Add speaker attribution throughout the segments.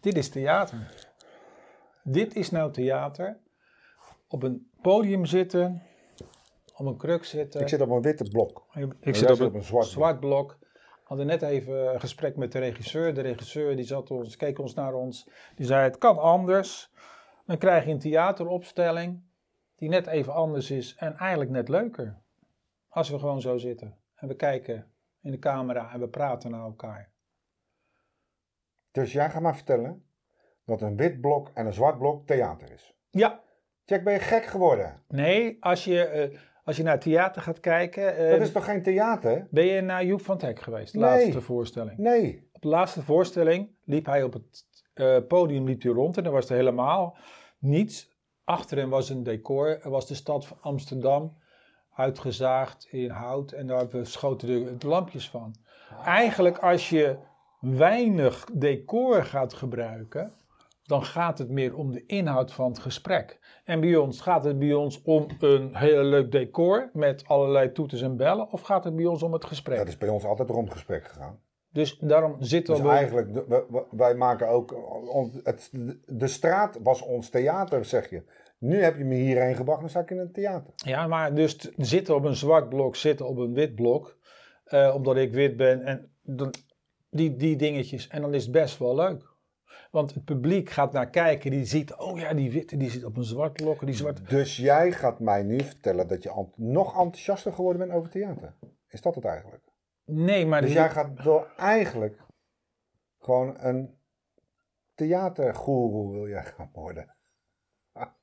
Speaker 1: Dit is theater. Dit is nou theater. Op een podium zitten, op een kruk zitten.
Speaker 2: Ik zit op een witte blok.
Speaker 1: Ik-
Speaker 2: En
Speaker 1: Ik
Speaker 2: jij
Speaker 1: zit op
Speaker 2: zit op
Speaker 1: een
Speaker 2: een zwart
Speaker 1: zwart,
Speaker 2: blok.
Speaker 1: blok. We hadden net even een gesprek met de regisseur. De regisseur die zat ons, keek ons naar ons. Die zei: Het kan anders. Dan krijg je een theateropstelling die net even anders is en eigenlijk net leuker. Als we gewoon zo zitten en we kijken in de camera en we praten naar elkaar.
Speaker 2: Dus jij gaat maar vertellen dat een wit blok en een zwart blok theater is.
Speaker 1: Ja,
Speaker 2: Jack, ben je gek geworden?
Speaker 1: nee, als je, eh, als je naar theater gaat kijken. eh,
Speaker 2: Dat is toch geen theater?
Speaker 1: Ben je naar Joep van het Hek geweest? De
Speaker 2: Nee.
Speaker 1: laatste voorstelling.
Speaker 2: Nee.
Speaker 1: Op de laatste voorstelling liep hij op het eh, podium liep hij rond en er was er helemaal niets. Achter hem was een decor. Er was de stad van Amsterdam uitgezaagd in hout en daar schoten de de lampjes van. Eigenlijk als je weinig decor gaat gebruiken, dan gaat het meer om de inhoud van het gesprek. En bij ons, gaat het bij ons om een heel leuk decor met allerlei toeters en bellen of gaat het bij ons om het gesprek?
Speaker 2: Dat is bij ons altijd rond gesprek gegaan.
Speaker 1: Dus daarom zitten
Speaker 2: Dus
Speaker 1: we...
Speaker 2: eigenlijk, de- we- we- wij maken ook... on- Het, de straat was ons theater, zeg je. Nu heb je me hierheen gebracht, dan sta ik in een theater.
Speaker 1: Ja, maar dus t- zitten op een zwart blok, zitten op een wit blok, eh, omdat ik wit ben en dan, die, die dingetjes. En dan is het best wel leuk. Want het publiek gaat naar kijken, die ziet, oh ja, die witte die zit op een zwart blok, die zwarte.
Speaker 2: Dus jij gaat mij nu vertellen dat je ant- nog enthousiaster geworden bent over theater. Is dat het eigenlijk?
Speaker 1: Nee, maar
Speaker 2: Dus
Speaker 1: die-
Speaker 2: jij gaat wel eigenlijk gewoon een theatergoeroe wil jij gaan worden.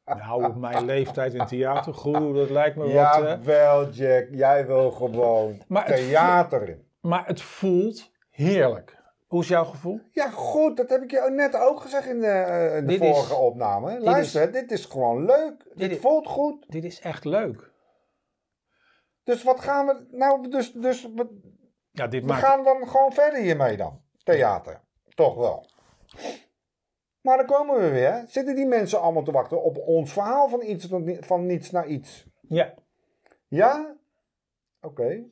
Speaker 1: nou, op mijn leeftijd in theatergroe, dat lijkt me wat. eh.
Speaker 2: Jawel, Jack. Jij wil gewoon
Speaker 1: Maar het-
Speaker 2: theater in.
Speaker 1: Maar het voelt heerlijk. Hoe is jouw gevoel?
Speaker 2: Ja, goed. Dat heb ik je net ook gezegd in de, eh, in de
Speaker 1: Dit is-
Speaker 2: vorige opname. Luister, hè, dit is gewoon leuk. Dit,
Speaker 1: is-
Speaker 2: voelt goed.
Speaker 1: Dit is echt leuk.
Speaker 2: Dus wat gaan we... Nou, dus, dus we,
Speaker 1: Ja, dit
Speaker 2: we
Speaker 1: maakt.
Speaker 2: gaan dan gewoon verder hiermee dan. Theater. Toch wel. Maar dan komen we weer. hè. Zitten die mensen allemaal te wachten op ons verhaal van, iets tot ni- van niets naar iets?
Speaker 1: Ja,
Speaker 2: Ja? Oké.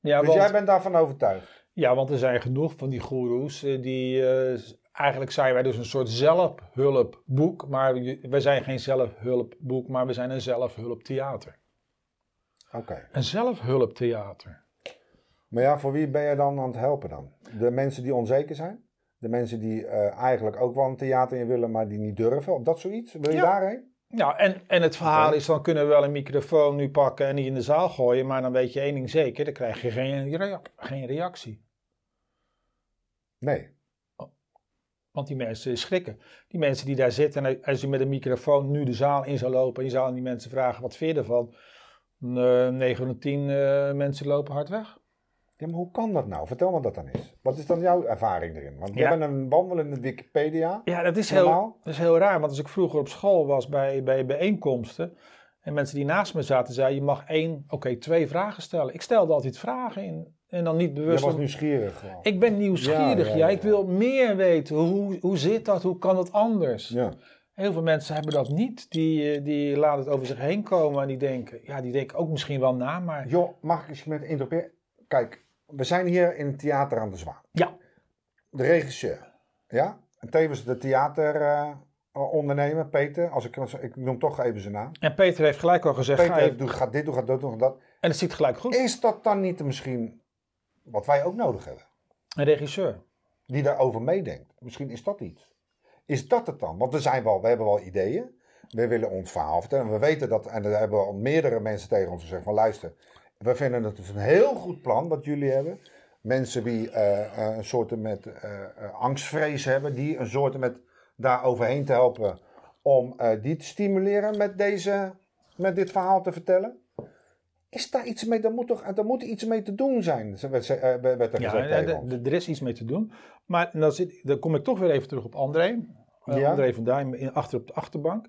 Speaker 1: ja
Speaker 2: dus
Speaker 1: want-
Speaker 2: jij bent daarvan overtuigd.
Speaker 1: Ja, want er zijn genoeg van die goeroes eh, die. eh, s- eigenlijk zijn wij dus een soort zelfhulpboek. Maar je- wij zijn geen zelfhulpboek, maar we zijn een zelfhulptheater.
Speaker 2: Oké.
Speaker 1: Een zelfhulptheater.
Speaker 2: Maar ja, voor wie ben je dan aan het helpen dan? De mensen die onzeker zijn? De mensen die eh, eigenlijk ook wel een theater in willen, maar die niet durven? Of dat soort Wil je
Speaker 1: Ja.
Speaker 2: daarheen?
Speaker 1: Ja, en, en het verhaal is dan kunnen we wel een microfoon nu pakken en die in de zaal gooien. Maar dan weet je één ding zeker, dan krijg je geen, rea- geen reactie.
Speaker 2: Nee.
Speaker 1: Want die mensen schrikken. Die mensen die daar zitten en als je met een microfoon nu de zaal in zou lopen en je zou aan die mensen vragen wat vind je ervan. Eh, 9 van de 10 eh, mensen lopen hard weg.
Speaker 2: Ja, maar hoe kan dat nou? Vertel me dat dan eens. Wat is dan jouw ervaring erin? Want jij
Speaker 1: Ja.
Speaker 2: bent een wandelende Wikipedia.
Speaker 1: Ja, dat is, heel,
Speaker 2: Normaal?
Speaker 1: dat is heel raar. Want als ik vroeger op school was bij, bij bijeenkomsten. en mensen die naast me zaten zeiden: je mag één, oké, twee vragen stellen. Ik stelde altijd vragen in. En dan niet
Speaker 2: Jij
Speaker 1: bewust.
Speaker 2: was
Speaker 1: om-
Speaker 2: nieuwsgierig gewoon.
Speaker 1: Ik ben nieuwsgierig.
Speaker 2: Ja,
Speaker 1: Ja,
Speaker 2: ja, ja,
Speaker 1: ik wil meer weten. Hoe, hoe zit dat? Hoe kan dat anders?
Speaker 2: Ja.
Speaker 1: Heel veel mensen hebben dat niet. Die, eh, die laten het over zich heen komen. En die denken: ja, die denken ook misschien wel na, maar.
Speaker 2: Joh, mag ik eens met interroperen? Kijk, we zijn hier in het theater aan de Zwaan.
Speaker 1: Ja.
Speaker 2: De regisseur, ja? En tevens de theaterondernemer, Peter. Als ik, ik noem toch even zijn naam.
Speaker 1: En Peter heeft gelijk al gezegd:
Speaker 2: Peter
Speaker 1: ga je,
Speaker 2: heeft, doe- gaat dit doen, gaat dat doen, gaat dat.
Speaker 1: en het ziet gelijk goed.
Speaker 2: Is dat dan niet misschien wat wij ook nodig hebben?
Speaker 1: Een regisseur.
Speaker 2: Die daarover meedenkt. Misschien is dat iets. Is dat het dan? Want we, zijn wel, we hebben wel ideeën. We willen ons verhaal vertellen. We weten dat, en daar hebben al meerdere mensen tegen ons gezegd: van luister, we vinden het dus een heel goed plan wat jullie hebben. Mensen die eh, eh, een soort met eh, eh, angstvrees hebben, die een soort met daar overheen te helpen om eh, die te stimuleren met, deze, met dit verhaal te vertellen. Is daar iets mee? Daar moet, toch, daar moet iets mee te doen zijn, werd, ze- eh, werd er
Speaker 1: Ja,
Speaker 2: gezegd
Speaker 1: eh,
Speaker 2: tegen ons.
Speaker 1: d- d- er is iets mee te doen. Maar dan, zit, dan kom ik toch weer even terug op André. Eh,
Speaker 2: Ja.
Speaker 1: André van Duin in, achter op de achterbank.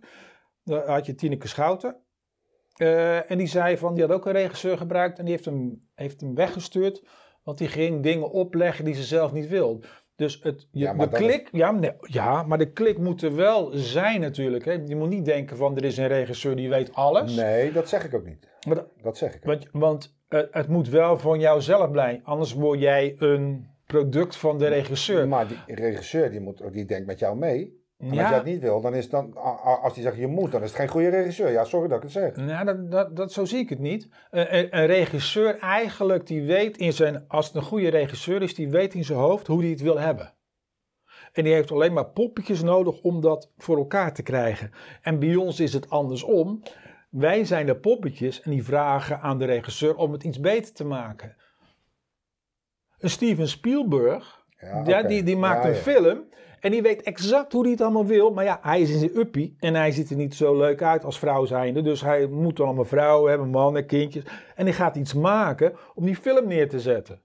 Speaker 1: Daar had je Tineke Schouten. Eh, en die zei van, die had ook een regisseur gebruikt en die heeft hem, heeft hem weggestuurd. Want die ging dingen opleggen die ze zelf niet wil. Dus het, je-
Speaker 2: Ja, maar
Speaker 1: de
Speaker 2: dat is-
Speaker 1: klik, ja, maar nee, ja, maar de klik moet er wel zijn natuurlijk. Hè. Je moet niet denken van, er is een regisseur die weet alles.
Speaker 2: Nee, dat zeg ik ook niet.
Speaker 1: Maar dat-
Speaker 2: Dat zeg ik. ook.
Speaker 1: want want eh, het moet wel van jouzelf blijven. Anders word jij een product van de regisseur.
Speaker 2: Maar die regisseur die, moet, die denkt met jou mee. En als jij
Speaker 1: ja,
Speaker 2: het niet wil, dan is het dan, a- a- als hij zegt je moet, dan is het geen goede regisseur. Ja, sorry dat ik het zeg.
Speaker 1: nou, dat, dat, dat, zo zie ik het niet. Een, een- een regisseur eigenlijk, die weet in zijn, als het een goede regisseur is, die weet in zijn hoofd hoe hij het wil hebben. En die heeft alleen maar poppetjes nodig om dat voor elkaar te krijgen. En bij ons is het andersom. Wij zijn de poppetjes en die vragen aan de regisseur om het iets beter te maken. Een Steven Spielberg,
Speaker 2: Ja,
Speaker 1: Ja,
Speaker 2: oké.
Speaker 1: die, die maakt
Speaker 2: Ja,
Speaker 1: een
Speaker 2: ja.
Speaker 1: film en die weet exact hoe hij het allemaal wil. Maar ja, hij is in zijn uppie en hij ziet er niet zo leuk uit als vrouw zijnde. Dus hij moet dan allemaal vrouwen hebben, mannen, kindjes. En die gaat iets maken om die film neer te zetten.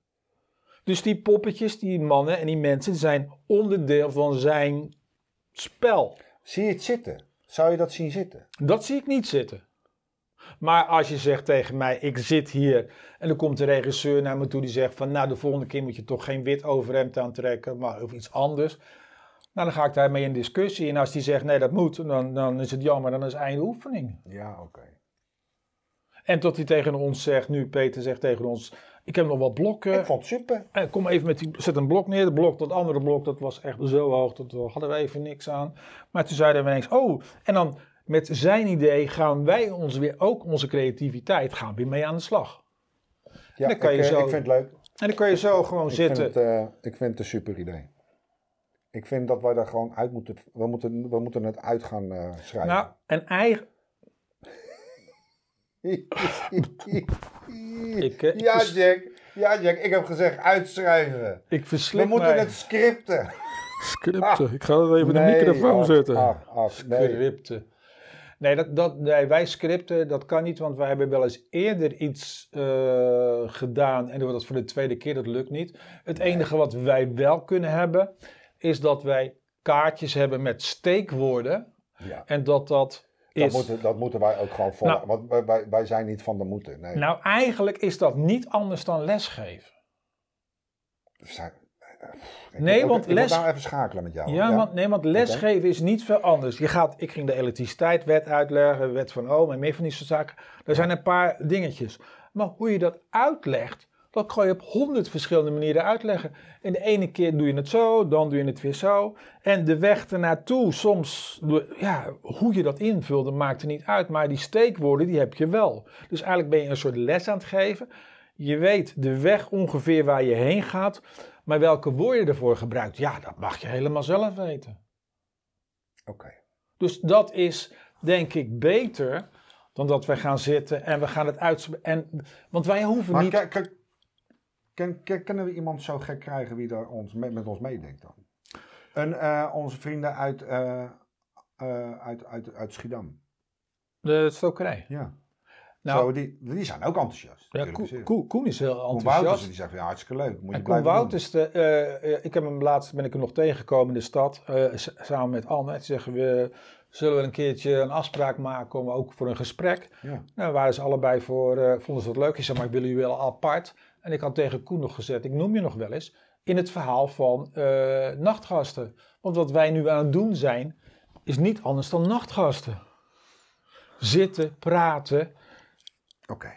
Speaker 1: Dus die poppetjes, die mannen en die mensen zijn onderdeel van zijn spel.
Speaker 2: Zie je het zitten? Zou je dat zien zitten?
Speaker 1: Dat zie ik niet zitten. Maar als je zegt tegen mij, ik zit hier en dan komt de regisseur naar me toe die zegt van nou de volgende keer moet je toch geen wit overhemd aantrekken, maar of iets anders. Nou dan ga ik daarmee in discussie en als die zegt nee dat moet, dan, dan is het jammer, dan is het einde oefening.
Speaker 2: Ja, oké.
Speaker 1: En tot hij tegen ons zegt, nu Peter zegt tegen ons, ik heb nog wat blokken.
Speaker 2: Ik vond het super.
Speaker 1: Eh, Kom even met die, zet een blok neer. De blok, dat andere blok, dat was echt zo hoog, dat daar hadden we even niks aan. Maar toen zeiden we ineens, oh, en dan met zijn idee gaan wij ons weer, ook onze creativiteit, gaan weer mee aan de slag.
Speaker 2: Ja,
Speaker 1: Dan kan
Speaker 2: ik,
Speaker 1: je
Speaker 2: eh,
Speaker 1: zo
Speaker 2: ik vind het leuk.
Speaker 1: En dan kan je zo gewoon
Speaker 2: Ik vind
Speaker 1: zitten.
Speaker 2: het, eh, ik vind het een super idee. Ik vind dat wij daar gewoon uit moeten. We moeten, we moeten het uit gaan eh, schrijven.
Speaker 1: nou, en eigen, eh, Ik, eh,
Speaker 2: ja,
Speaker 1: vers-
Speaker 2: Jack. Ja, Jack. Ik heb gezegd uitschrijven.
Speaker 1: ik
Speaker 2: We
Speaker 1: verslik
Speaker 2: moeten
Speaker 1: mij.
Speaker 2: het scripten.
Speaker 1: Scripten. Ik ga dat even
Speaker 2: Nee, Ah.
Speaker 1: de microfoon
Speaker 2: ach,
Speaker 1: zetten.
Speaker 2: Ach, ach, nee.
Speaker 1: Scripten. Nee, dat, dat, nee, wij scripten, dat kan niet, want wij hebben wel eens eerder iets eh, gedaan en dan wordt dat voor de tweede keer, dat lukt niet. Het enige wat wij wel kunnen hebben, is dat wij kaartjes hebben met steekwoorden
Speaker 2: Ja.
Speaker 1: en dat dat is...
Speaker 2: Dat, moeten, dat moeten wij ook gewoon volgen.
Speaker 1: Nou.
Speaker 2: want wij, wij, wij zijn niet van de moeten. Nee.
Speaker 1: Nou, eigenlijk is dat niet anders dan lesgeven.
Speaker 2: We zijn- eh, pff, ik
Speaker 1: Nee,
Speaker 2: moet ook-
Speaker 1: want
Speaker 2: ik moet
Speaker 1: les-
Speaker 2: nou even schakelen met jou.
Speaker 1: Ja, Want, nee, want lesgeven is niet veel anders. Je gaat, ik ging de elektriciteitswet uitleggen, wet van Ohm en meer van die soort zaken. Er zijn een paar dingetjes. Maar hoe je dat uitlegt, dat kan je op honderd verschillende manieren uitleggen. En de ene keer doe je het zo, dan doe je het weer zo. En de weg ernaartoe, soms, doe- ja, hoe je dat invulde, maakt er niet uit. Maar die steekwoorden, die heb je wel. Dus eigenlijk ben je een soort les aan het geven. Je weet de weg ongeveer waar je heen gaat, maar welke woorden je ervoor gebruikt, ja, dat mag je helemaal zelf weten.
Speaker 2: Oké.
Speaker 1: Dus dat is denk ik beter dan dat wij gaan zitten en we gaan het uit. En, want wij hoeven
Speaker 2: Maar
Speaker 1: niet.
Speaker 2: kijk, kijk, ken- ken- kunnen we iemand zo gek krijgen wie daar ons, met, met ons meedenkt dan? Een, eh, onze vrienden uit, eh, eh, uit, uit, uit Schiedam.
Speaker 1: de stokerij.
Speaker 2: Ja.
Speaker 1: Nou,
Speaker 2: Zo, die, die zijn ook enthousiast.
Speaker 1: ja, Koen,
Speaker 2: natuurlijk.
Speaker 1: Koen- Koen is heel
Speaker 2: Koen
Speaker 1: enthousiast.
Speaker 2: Wouters die zegt van, ja, hartstikke leuk. Moet je
Speaker 1: en Koen
Speaker 2: blijven doen.
Speaker 1: Wouters, de, eh, eh, ik heb hem laatst, ben ik hem nog tegengekomen in de stad, eh, s- samen met Anne. En ze zeggen we, zullen we een keertje een afspraak maken om ook voor een gesprek.
Speaker 2: Ja.
Speaker 1: Nou, waren ze allebei voor, eh, vonden ze dat leuk. Ik zei, maar ik wil jullie wel apart. En ik had tegen Koen nog gezet, ik noem je nog wel eens, in het verhaal van eh, nachtgasten. Want wat wij nu aan het doen zijn, is niet anders dan nachtgasten. Zitten, praten.
Speaker 2: Oké.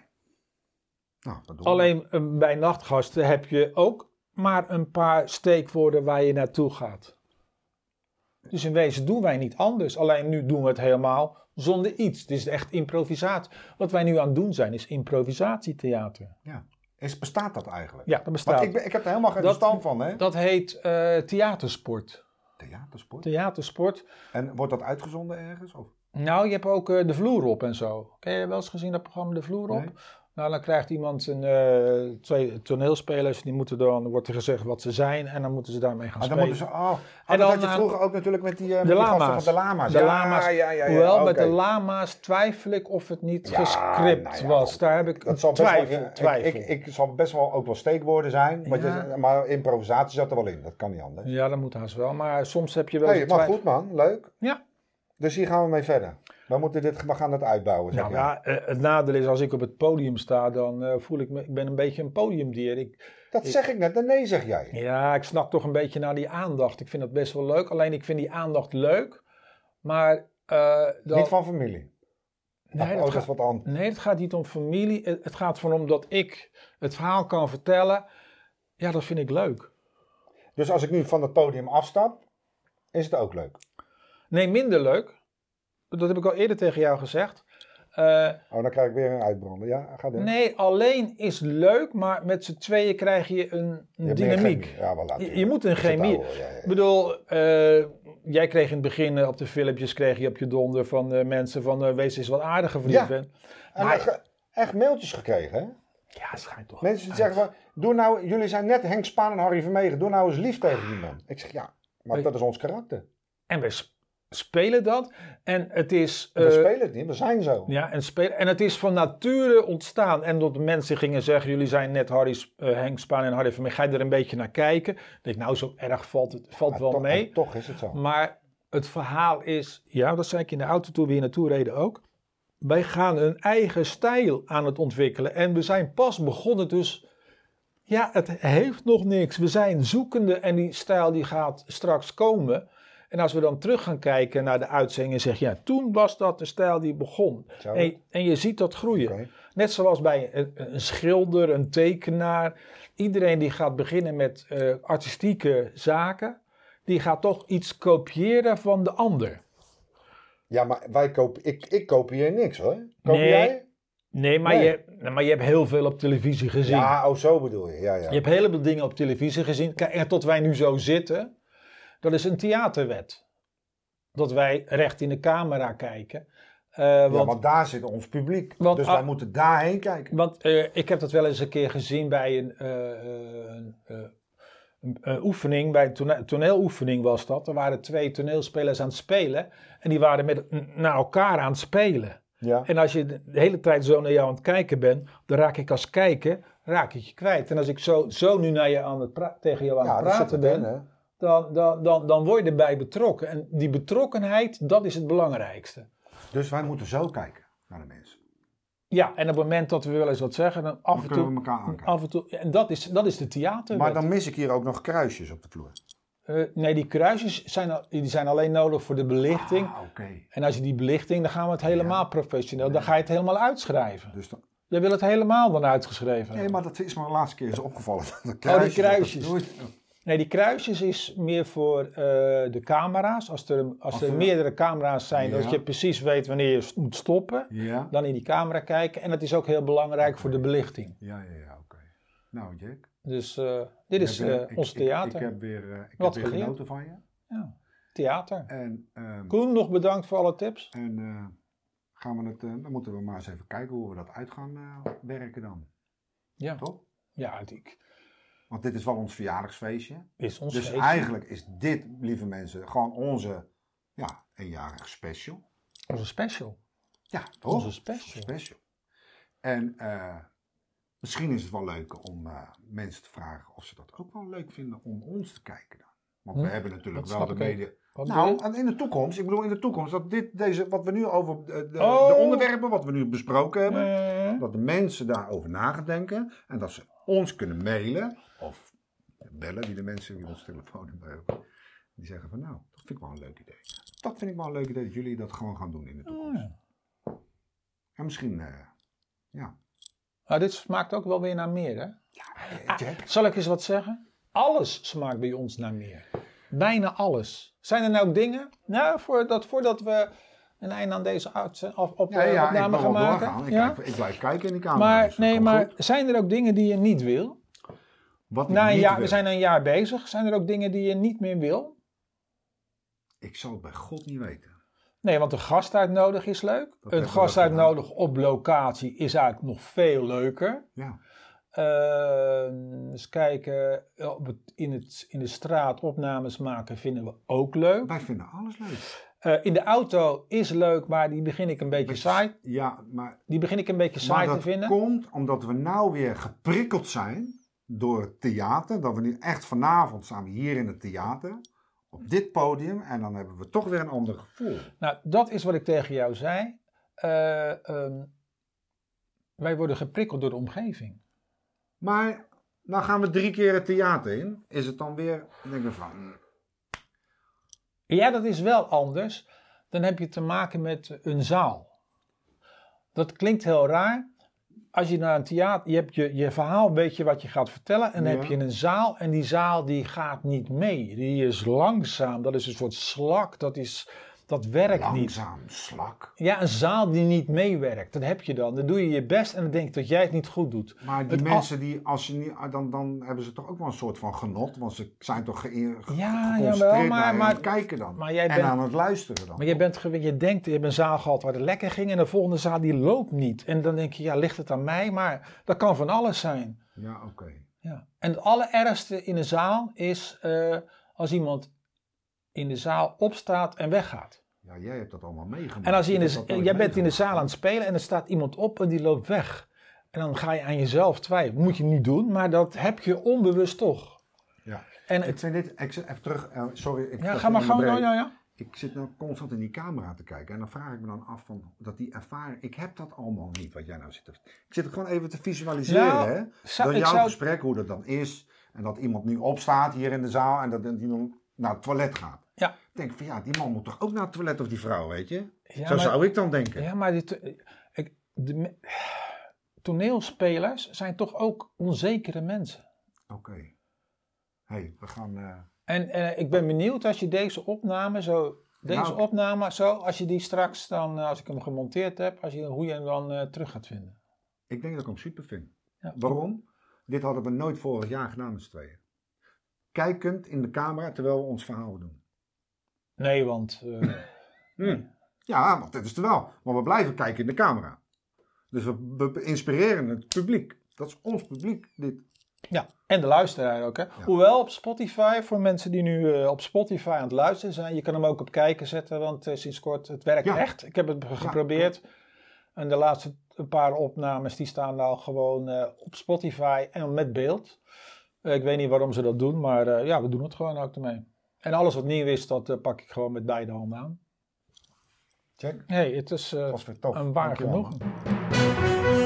Speaker 2: Nou, dat doen we.
Speaker 1: Alleen eh, bij nachtgasten heb je ook maar een paar steekwoorden waar je naartoe gaat. Dus in wezen doen wij niet anders. Alleen nu doen we het helemaal zonder iets. Het is echt improvisatie. Wat wij nu aan het doen zijn, is improvisatietheater.
Speaker 2: Ja. Is, bestaat dat eigenlijk?
Speaker 1: Ja, dat bestaat.
Speaker 2: Maar ik, ben- ik heb er helemaal geen
Speaker 1: Dat-
Speaker 2: verstand van, hè?
Speaker 1: Dat heet eh, theatersport.
Speaker 2: Theatersport.
Speaker 1: Theatersport.
Speaker 2: En wordt dat uitgezonden ergens? Of? Ah,
Speaker 1: Nou, je hebt ook eh, De Vloer op en zo. Ken je wel eens gezien dat programma De Vloer op?
Speaker 2: Nee.
Speaker 1: Nou, dan krijgt iemand een, eh, twee toneelspelers, die moeten dan, wordt er gezegd wat ze zijn en dan moeten ze daarmee gaan
Speaker 2: Ah, dan
Speaker 1: spelen.
Speaker 2: moeten ze. Oh, oh,
Speaker 1: En
Speaker 2: dat
Speaker 1: dan,
Speaker 2: had je
Speaker 1: eh,
Speaker 2: vroeger ook natuurlijk met die, eh met
Speaker 1: de
Speaker 2: die gasten
Speaker 1: lama's.
Speaker 2: van de lama's.
Speaker 1: De
Speaker 2: ja,
Speaker 1: lama's.
Speaker 2: Ja, ja, ja, ja.
Speaker 1: Hoewel, met
Speaker 2: oké.
Speaker 1: de lama's twijfel ik of het niet
Speaker 2: Ja,
Speaker 1: gescript
Speaker 2: nou ja,
Speaker 1: was.
Speaker 2: goed.
Speaker 1: Daar heb ik
Speaker 2: Dat zal best
Speaker 1: twijfel,
Speaker 2: wel, ik-
Speaker 1: twijfel.
Speaker 2: Ik, ik, ik zal best wel ook wel steekwoorden zijn, wat
Speaker 1: Ja.
Speaker 2: je, maar improvisatie zat er wel in. Dat kan niet anders.
Speaker 1: Ja, dat moet haast wel, maar soms heb je wel
Speaker 2: Hey,
Speaker 1: eens
Speaker 2: maar
Speaker 1: twijfel.
Speaker 2: goed man, leuk.
Speaker 1: Ja.
Speaker 2: Dus hier gaan we mee verder. We, moeten dit, we gaan het uitbouwen, zeg
Speaker 1: Nou
Speaker 2: jij.
Speaker 1: ja, eh, het nadeel is als ik op het podium sta, dan eh, voel ik me, ik ben een beetje een podiumdier. Ik,
Speaker 2: Dat zeg ik net, en nee zeg jij.
Speaker 1: ja, ik snak toch een beetje naar die aandacht. Ik vind dat best wel leuk, alleen ik vind die aandacht leuk, maar... eh, dan-
Speaker 2: Niet van familie.
Speaker 1: nee,
Speaker 2: oh,
Speaker 1: dat
Speaker 2: dat is
Speaker 1: gaat,
Speaker 2: wat anders.
Speaker 1: nee, het gaat niet om familie. Het het gaat van om dat ik het verhaal kan vertellen. Ja, dat vind ik leuk.
Speaker 2: Dus als ik nu van het podium afstap, is het ook leuk.
Speaker 1: Nee, minder leuk. Dat heb ik al eerder tegen jou gezegd. Eh,
Speaker 2: Oh, dan krijg ik weer een uitbranden. Ja, ga door.
Speaker 1: nee, alleen is leuk, maar met z'n tweeën krijg je een,
Speaker 2: Je
Speaker 1: een
Speaker 2: hebt meer
Speaker 1: dynamiek.
Speaker 2: chemie. Ja, wel laat.
Speaker 1: Je, je moet een chemie.
Speaker 2: Ja, ja.
Speaker 1: Ik bedoel, eh, jij kreeg in het begin eh, op de filmpjes kreeg je op je donder van eh, mensen van eh, wees eens wat aardiger voor die
Speaker 2: Ja.
Speaker 1: vent.
Speaker 2: En
Speaker 1: Maar-
Speaker 2: echt- echt mailtjes gekregen, hè?
Speaker 1: Ja, schijnt toch.
Speaker 2: Mensen die zeggen van, doe nou, jullie zijn net Henk Spaan en Harry Vermegen, doe nou eens lief tegen die man. Ik zeg, ja, maar
Speaker 1: Ik-
Speaker 2: dat is ons karakter.
Speaker 1: En we sp- spelen dat. En het is.
Speaker 2: We
Speaker 1: eh,
Speaker 2: spelen het niet, we zijn zo.
Speaker 1: ja, en, spelen, en het is van nature ontstaan. En dat mensen gingen zeggen: jullie zijn net Harry, Sp- eh, Henk Spaan en Harry van mij. Ga je er een beetje naar kijken? Ik denk, nou, zo erg valt het valt
Speaker 2: Maar
Speaker 1: wel
Speaker 2: toch,
Speaker 1: mee.
Speaker 2: en toch is het zo.
Speaker 1: Maar het verhaal is, ja, dat zei ik in de auto toen we hier naartoe reden ook. Wij gaan een eigen stijl aan het ontwikkelen. En we zijn pas begonnen, dus ja, het heeft nog niks. We zijn zoekende en die stijl die gaat straks komen. En als we dan terug gaan kijken naar de uitzending en zeggen, ja, toen was dat de stijl die begon.
Speaker 2: Zo.
Speaker 1: En, en je ziet dat groeien.
Speaker 2: Oké.
Speaker 1: Net zoals bij een, een schilder, een tekenaar. Iedereen die gaat beginnen met eh, artistieke zaken, die gaat toch iets kopiëren van de ander.
Speaker 2: Ja, maar wij koop, ik, ik kopieer niks hoor. Koop
Speaker 1: Nee.
Speaker 2: jij?
Speaker 1: Nee, maar,
Speaker 2: Nee.
Speaker 1: Je, maar je hebt heel veel op televisie gezien.
Speaker 2: Ja, oh zo bedoel je. Ja, ja.
Speaker 1: Je hebt een heleboel dingen op televisie gezien. Kijk, en tot wij nu zo zitten, dat is een theaterwet. Dat wij recht in de camera kijken. Eh,
Speaker 2: Ja,
Speaker 1: want
Speaker 2: want daar zit ons publiek.
Speaker 1: Want-
Speaker 2: dus
Speaker 1: ah-
Speaker 2: wij moeten daarheen kijken.
Speaker 1: Want eh, ik heb dat wel eens een keer gezien bij een, eh, eh, een, eh, een- een oefening, bij een tone- toneeloefening was dat. Er waren twee toneelspelers aan het spelen en die waren met, n- naar elkaar aan het spelen.
Speaker 2: Ja.
Speaker 1: En als je de de hele tijd zo naar jou aan het kijken bent, dan raak ik als kijker raak ik je kwijt. En als ik zo, zo nu naar je aan het pra- tegen jou aan
Speaker 2: ja,
Speaker 1: het
Speaker 2: dat zit
Speaker 1: praten
Speaker 2: erin,
Speaker 1: ben,
Speaker 2: hè.
Speaker 1: dan, dan, dan, dan word je erbij betrokken. En die betrokkenheid, dat is het belangrijkste.
Speaker 2: Dus wij moeten zo kijken naar de mensen.
Speaker 1: Ja, en op het moment dat we wel eens wat zeggen, dan af
Speaker 2: Dan
Speaker 1: en toe...
Speaker 2: kunnen we elkaar aankijken.
Speaker 1: Af en toe, en dat is, dat is de theater. Eh,
Speaker 2: Maar dan mis ik hier ook nog kruisjes op de vloer.
Speaker 1: nee, die kruisjes zijn, al- die zijn alleen nodig voor de belichting.
Speaker 2: Ah, oké.
Speaker 1: En als je die belichting, dan gaan we het helemaal professioneel. Dan ga je het helemaal uitschrijven.
Speaker 2: Dus dan...
Speaker 1: Jij wil het helemaal dan uitgeschreven.
Speaker 2: Nee,
Speaker 1: hebben.
Speaker 2: maar dat is me de laatste keer eens opgevallen. Dat de
Speaker 1: Oh, kruisjes.
Speaker 2: dat doe je-
Speaker 1: Nee, die kruisjes is meer voor eh, de camera's. Als er, als
Speaker 2: Als
Speaker 1: er
Speaker 2: er-
Speaker 1: meerdere camera's zijn,
Speaker 2: eh, Ja.
Speaker 1: dat je precies weet wanneer je s- moet stoppen.
Speaker 2: Ja.
Speaker 1: Dan in die camera kijken. En dat is ook heel belangrijk voor de belichting.
Speaker 2: Ja, ja, ja, oké. Nou, Jack.
Speaker 1: Dus eh, dit
Speaker 2: ik
Speaker 1: is
Speaker 2: heb weer-
Speaker 1: eh, ons theater.
Speaker 2: Ik, ik, heb weer, eh, ik
Speaker 1: Wat
Speaker 2: heb weer
Speaker 1: geleerd.
Speaker 2: genoten van je.
Speaker 1: Ja, theater.
Speaker 2: En, ehm,
Speaker 1: Koen, nog bedankt voor alle tips.
Speaker 2: en eh, gaan we het, eh, dan moeten we maar eens even kijken hoe we dat uit gaan eh, werken dan.
Speaker 1: Ja.
Speaker 2: Toch?
Speaker 1: Ja, het ik-
Speaker 2: Want dit is wel ons verjaardagsfeestje.
Speaker 1: is ons
Speaker 2: dus
Speaker 1: feestje.
Speaker 2: eigenlijk is dit, lieve mensen, gewoon onze ja, eenjarig special.
Speaker 1: Onze special.
Speaker 2: Ja, toch?
Speaker 1: Onze special.
Speaker 2: special. En eh, misschien is het wel leuk om eh, mensen te vragen of ze dat ook wel leuk vinden om ons te kijken dan. Want
Speaker 1: Hm?
Speaker 2: we hebben natuurlijk
Speaker 1: Dat
Speaker 2: wel de
Speaker 1: snap ik ook.
Speaker 2: media...
Speaker 1: Wat
Speaker 2: Nou,
Speaker 1: bedoel
Speaker 2: en in de toekomst, ik bedoel in de toekomst, dat dit, deze, wat we nu over de, de-
Speaker 1: Oh.
Speaker 2: de onderwerpen, wat we nu besproken
Speaker 1: je?
Speaker 2: hebben,
Speaker 1: Eh,
Speaker 2: dat de mensen daarover na gaan denken en dat ze ons kunnen mailen of bellen, die de mensen die ons telefoonnummer hebben, die zeggen van nou, dat vind ik wel een leuk idee. Dat vind ik wel een leuk idee dat jullie dat gewoon gaan doen in de toekomst.
Speaker 1: Oh, ja.
Speaker 2: En misschien, eh, ja,
Speaker 1: Nou, dit smaakt ook wel weer naar meer, hè?
Speaker 2: Eh, Jack,
Speaker 1: Zal ik eens wat zeggen? Alles smaakt bij ons naar meer. Bijna alles. Zijn er nou dingen? Nou, voordat, voordat we een einde aan deze uitzending of op,
Speaker 2: ja,
Speaker 1: eh,
Speaker 2: ja, ik
Speaker 1: opname
Speaker 2: wil
Speaker 1: gaan
Speaker 2: wel
Speaker 1: maken.
Speaker 2: doorgaan. Ik,
Speaker 1: ja?
Speaker 2: kijk- ik blijf kijken in die camera.
Speaker 1: Maar,
Speaker 2: dus dat
Speaker 1: nee,
Speaker 2: komt
Speaker 1: maar
Speaker 2: goed.
Speaker 1: zijn er ook dingen die je niet wil?
Speaker 2: Wat ik
Speaker 1: Na een jaar,
Speaker 2: niet wil-
Speaker 1: nou we zijn een jaar bezig. Zijn er ook dingen die je niet meer wil?
Speaker 2: Ik zal het bij God niet weten.
Speaker 1: Nee, want een gast uitnodigen is leuk.
Speaker 2: hebben
Speaker 1: een
Speaker 2: we
Speaker 1: gast
Speaker 2: ook gedaan.
Speaker 1: uitnodigen op locatie is eigenlijk nog veel leuker.
Speaker 2: Ja,
Speaker 1: Eh, eens kijken, eh, op het- in, het, in de straat opnames maken vinden we ook leuk.
Speaker 2: wij vinden alles leuk.
Speaker 1: Eh, in de auto is leuk, maar die begin ik een beetje saai.
Speaker 2: Ja, maar
Speaker 1: Die begin ik een beetje
Speaker 2: Maar
Speaker 1: saai
Speaker 2: dat
Speaker 1: te vinden.
Speaker 2: komt omdat we nou weer geprikkeld zijn door het theater. Dat we nu echt vanavond staan we hier in het theater. Op dit podium. En dan hebben we toch weer een ander gevoel.
Speaker 1: Nou, dat is wat ik tegen jou zei. Eh, ehm, wij worden geprikkeld door de omgeving.
Speaker 2: Maar nou gaan we drie keer het theater in. Is het dan weer, dan denk ik van... mm,
Speaker 1: Ja, dat is wel anders. Dan heb je te maken met een zaal. Dat klinkt heel raar, als je naar een theater, je hebt je, je verhaal, weet je wat je gaat vertellen. En dan
Speaker 2: Ja.
Speaker 1: heb je een zaal en die zaal die gaat niet mee. Die is langzaam, dat is een soort slak, dat, is, dat werkt niet.
Speaker 2: Langzaam, slak.
Speaker 1: Ja, een zaal die niet meewerkt, dat heb je dan. Dan doe je je best en dan denk je dat jij het niet goed doet.
Speaker 2: Maar die
Speaker 1: Het al-
Speaker 2: mensen die, als je niet, ah, dan, dan hebben ze toch ook wel een soort van genot, want ze zijn toch ge ge-
Speaker 1: Ja,
Speaker 2: geconcentreerd
Speaker 1: jawel, maar-
Speaker 2: naar maar,
Speaker 1: maar-
Speaker 2: het kijken dan.
Speaker 1: maar jij
Speaker 2: en
Speaker 1: bent-
Speaker 2: aan het luisteren dan.
Speaker 1: Maar je, bent, gewe- je denkt, je hebt een zaal gehad waar het lekker ging en de volgende zaal die loopt niet. En dan denk je, ja, ligt het aan mij? Maar dat kan van alles zijn.
Speaker 2: Ja, oké.
Speaker 1: Ja. En het allerergste in een zaal is eh, als iemand in de zaal opstaat en weggaat.
Speaker 2: Ja, jij hebt dat allemaal meegemaakt.
Speaker 1: En als je in
Speaker 2: Ik
Speaker 1: de,
Speaker 2: heb dat
Speaker 1: eh,
Speaker 2: nooit
Speaker 1: jij bent in de
Speaker 2: meegemaakt.
Speaker 1: zaal aan het spelen en er staat iemand op en die loopt weg. En dan ga je aan jezelf twijfelen. Moet je niet doen, maar dat heb je onbewust toch.
Speaker 2: Ja.
Speaker 1: En
Speaker 2: Ik
Speaker 1: het,
Speaker 2: vind dit, ik zit even terug, eh, sorry. Ik
Speaker 1: ja,
Speaker 2: dat
Speaker 1: ga maar gewoon
Speaker 2: onderbreek.
Speaker 1: door. Ja, ja.
Speaker 2: Ik zit nou constant in die camera te kijken en dan vraag ik me dan af van, dat die ervaring, ik heb dat allemaal niet wat jij nou zit te, Ik zit het gewoon even te visualiseren,
Speaker 1: Nou,
Speaker 2: hè.
Speaker 1: Zou-
Speaker 2: Door
Speaker 1: ik
Speaker 2: jouw
Speaker 1: zou,
Speaker 2: gesprek, hoe dat dan is. En dat iemand nu opstaat hier in de zaal en dat die dan naar het toilet gaat.
Speaker 1: Ja.
Speaker 2: Ik denk van ja, die man moet toch ook naar het toilet of die vrouw, weet je?
Speaker 1: ja,
Speaker 2: Zo
Speaker 1: maar-
Speaker 2: zou ik dan denken.
Speaker 1: Ja, maar dit, eh, ik, de, me- toneelspelers zijn toch ook onzekere mensen.
Speaker 2: Oké. hey, we gaan... eh,
Speaker 1: En eh, ik ben benieuwd als je deze opname zo. Deze
Speaker 2: Nou, ik-
Speaker 1: opname, zo, als je die straks dan, eh, als ik hem gemonteerd heb, als je, hoe je hem dan eh, terug gaat vinden.
Speaker 2: ik denk dat ik hem super vind.
Speaker 1: Ja.
Speaker 2: Waarom? Dit hadden we nooit vorig jaar gedaan met z'n tweeën. Kijkend in de camera terwijl we ons verhaal doen.
Speaker 1: Nee, want. eh,
Speaker 2: Ja, want dat is het wel. Maar we blijven kijken in de camera. Dus we, we inspireren het publiek. Dat is ons publiek, dit.
Speaker 1: ja, en de luisteraar ook. Hè? Hoewel op Spotify, voor mensen die nu eh, op Spotify aan het luisteren zijn, je kan hem ook op kijken zetten, want eh, sinds kort, het werkt
Speaker 2: Ja.
Speaker 1: echt. Ik heb het geprobeerd. En de laatste paar opnames, die staan nou gewoon eh, op Spotify en met beeld. Eh, ik weet niet waarom ze dat doen, maar eh, ja, we doen het gewoon ook ermee. En alles wat nieuw is, dat eh, pak ik gewoon met beide handen aan.
Speaker 2: Check.
Speaker 1: Nee, het is eh,
Speaker 2: Dat was weer tof.
Speaker 1: een waar
Speaker 2: Oh, Dankjewel, man.
Speaker 1: genoegen.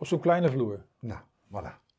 Speaker 1: Op zo'n kleine vloer.
Speaker 2: Nou, voilà.